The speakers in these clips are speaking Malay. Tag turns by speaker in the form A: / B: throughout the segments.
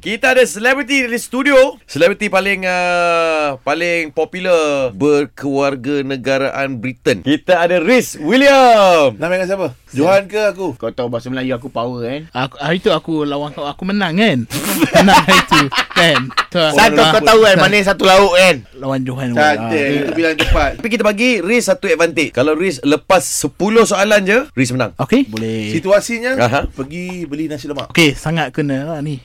A: Kita ada selebriti di studio. Selebriti paling uh, paling popular berkeluarga negaraan Britain. Kita ada Riz William.
B: Nak main dengan siapa? Johan ke aku?
C: Kau tahu bahasa Melayu aku power kan
D: Aku, hari tu aku lawan kau Aku menang kan Menang hari tu Kan so, aku
C: Satu
D: lawan-
C: kau tahu kan Mana satu lauk kan
D: Lawan Johan
B: Cantik.
D: Ah.
B: Itu bilang cepat.
A: Tapi kita bagi Riz satu advantage. Kalau Riz lepas 10 soalan je, Riz menang.
D: Okay Boleh
B: Situasinya
A: Aha.
B: pergi beli nasi lemak.
D: Okay sangat kena lah ni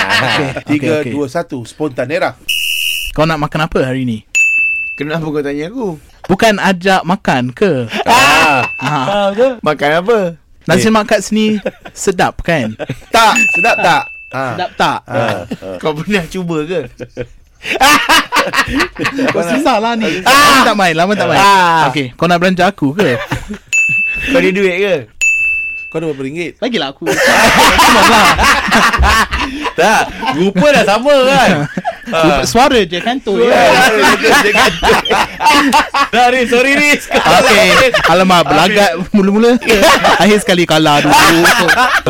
A: Ah,
B: Tiga,
D: okay.
B: dua, satu. Spontan era.
D: Kau nak makan apa hari ni?
C: Kenapa kau tanya aku
D: Bukan ajak makan ke?
A: ah.
D: ha.
C: Makan apa Eh.
D: Nasi lemak kat sini Sedap kan?
B: Tak, sedap tak? Ha.
C: Ah.
D: Sedap tak? Ah.
B: Ha.
C: Kau pernah cuba ke
D: Kau susah lah ni Lama tak main Lama tak main
C: Ah.
D: Okay Kau nak belanja aku ke?
C: Kau ada duit ke
B: Kau ada berapa ringgit?
D: Lagilah lah aku
A: Tak, rupa dah sama kan.
C: Ah.
D: Lupa Suara je kan ya. kantor je
A: Dah Riz, sorry Riz.
D: Okay Alamak Belagat mula-mula Akhir sekali kalah dulu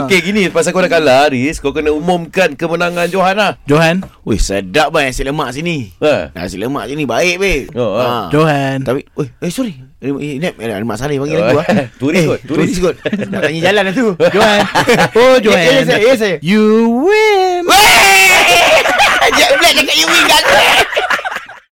A: Okey gini, pasal kau dah kalah Riz, kau kena umumkan kemenangan Johan lah.
D: Johan
C: Weh sedap bang nasi lemak sini
A: Ha.
C: Nasi lemak sini baik weh
A: Oh, ah.
D: Johan
C: Tapi Weh eh sorry Eh, Nep eh, Mak Saleh panggil
A: Oh,
C: aku lah
A: eh, turis
C: Eh,
A: kot, turis.
C: Turis kot Nak tanya jalan lah tu
D: Johan Oh Johan
C: Ya, ya, saya, ya, saya.
D: You win
C: Weh Jack Black cakap you win kat aku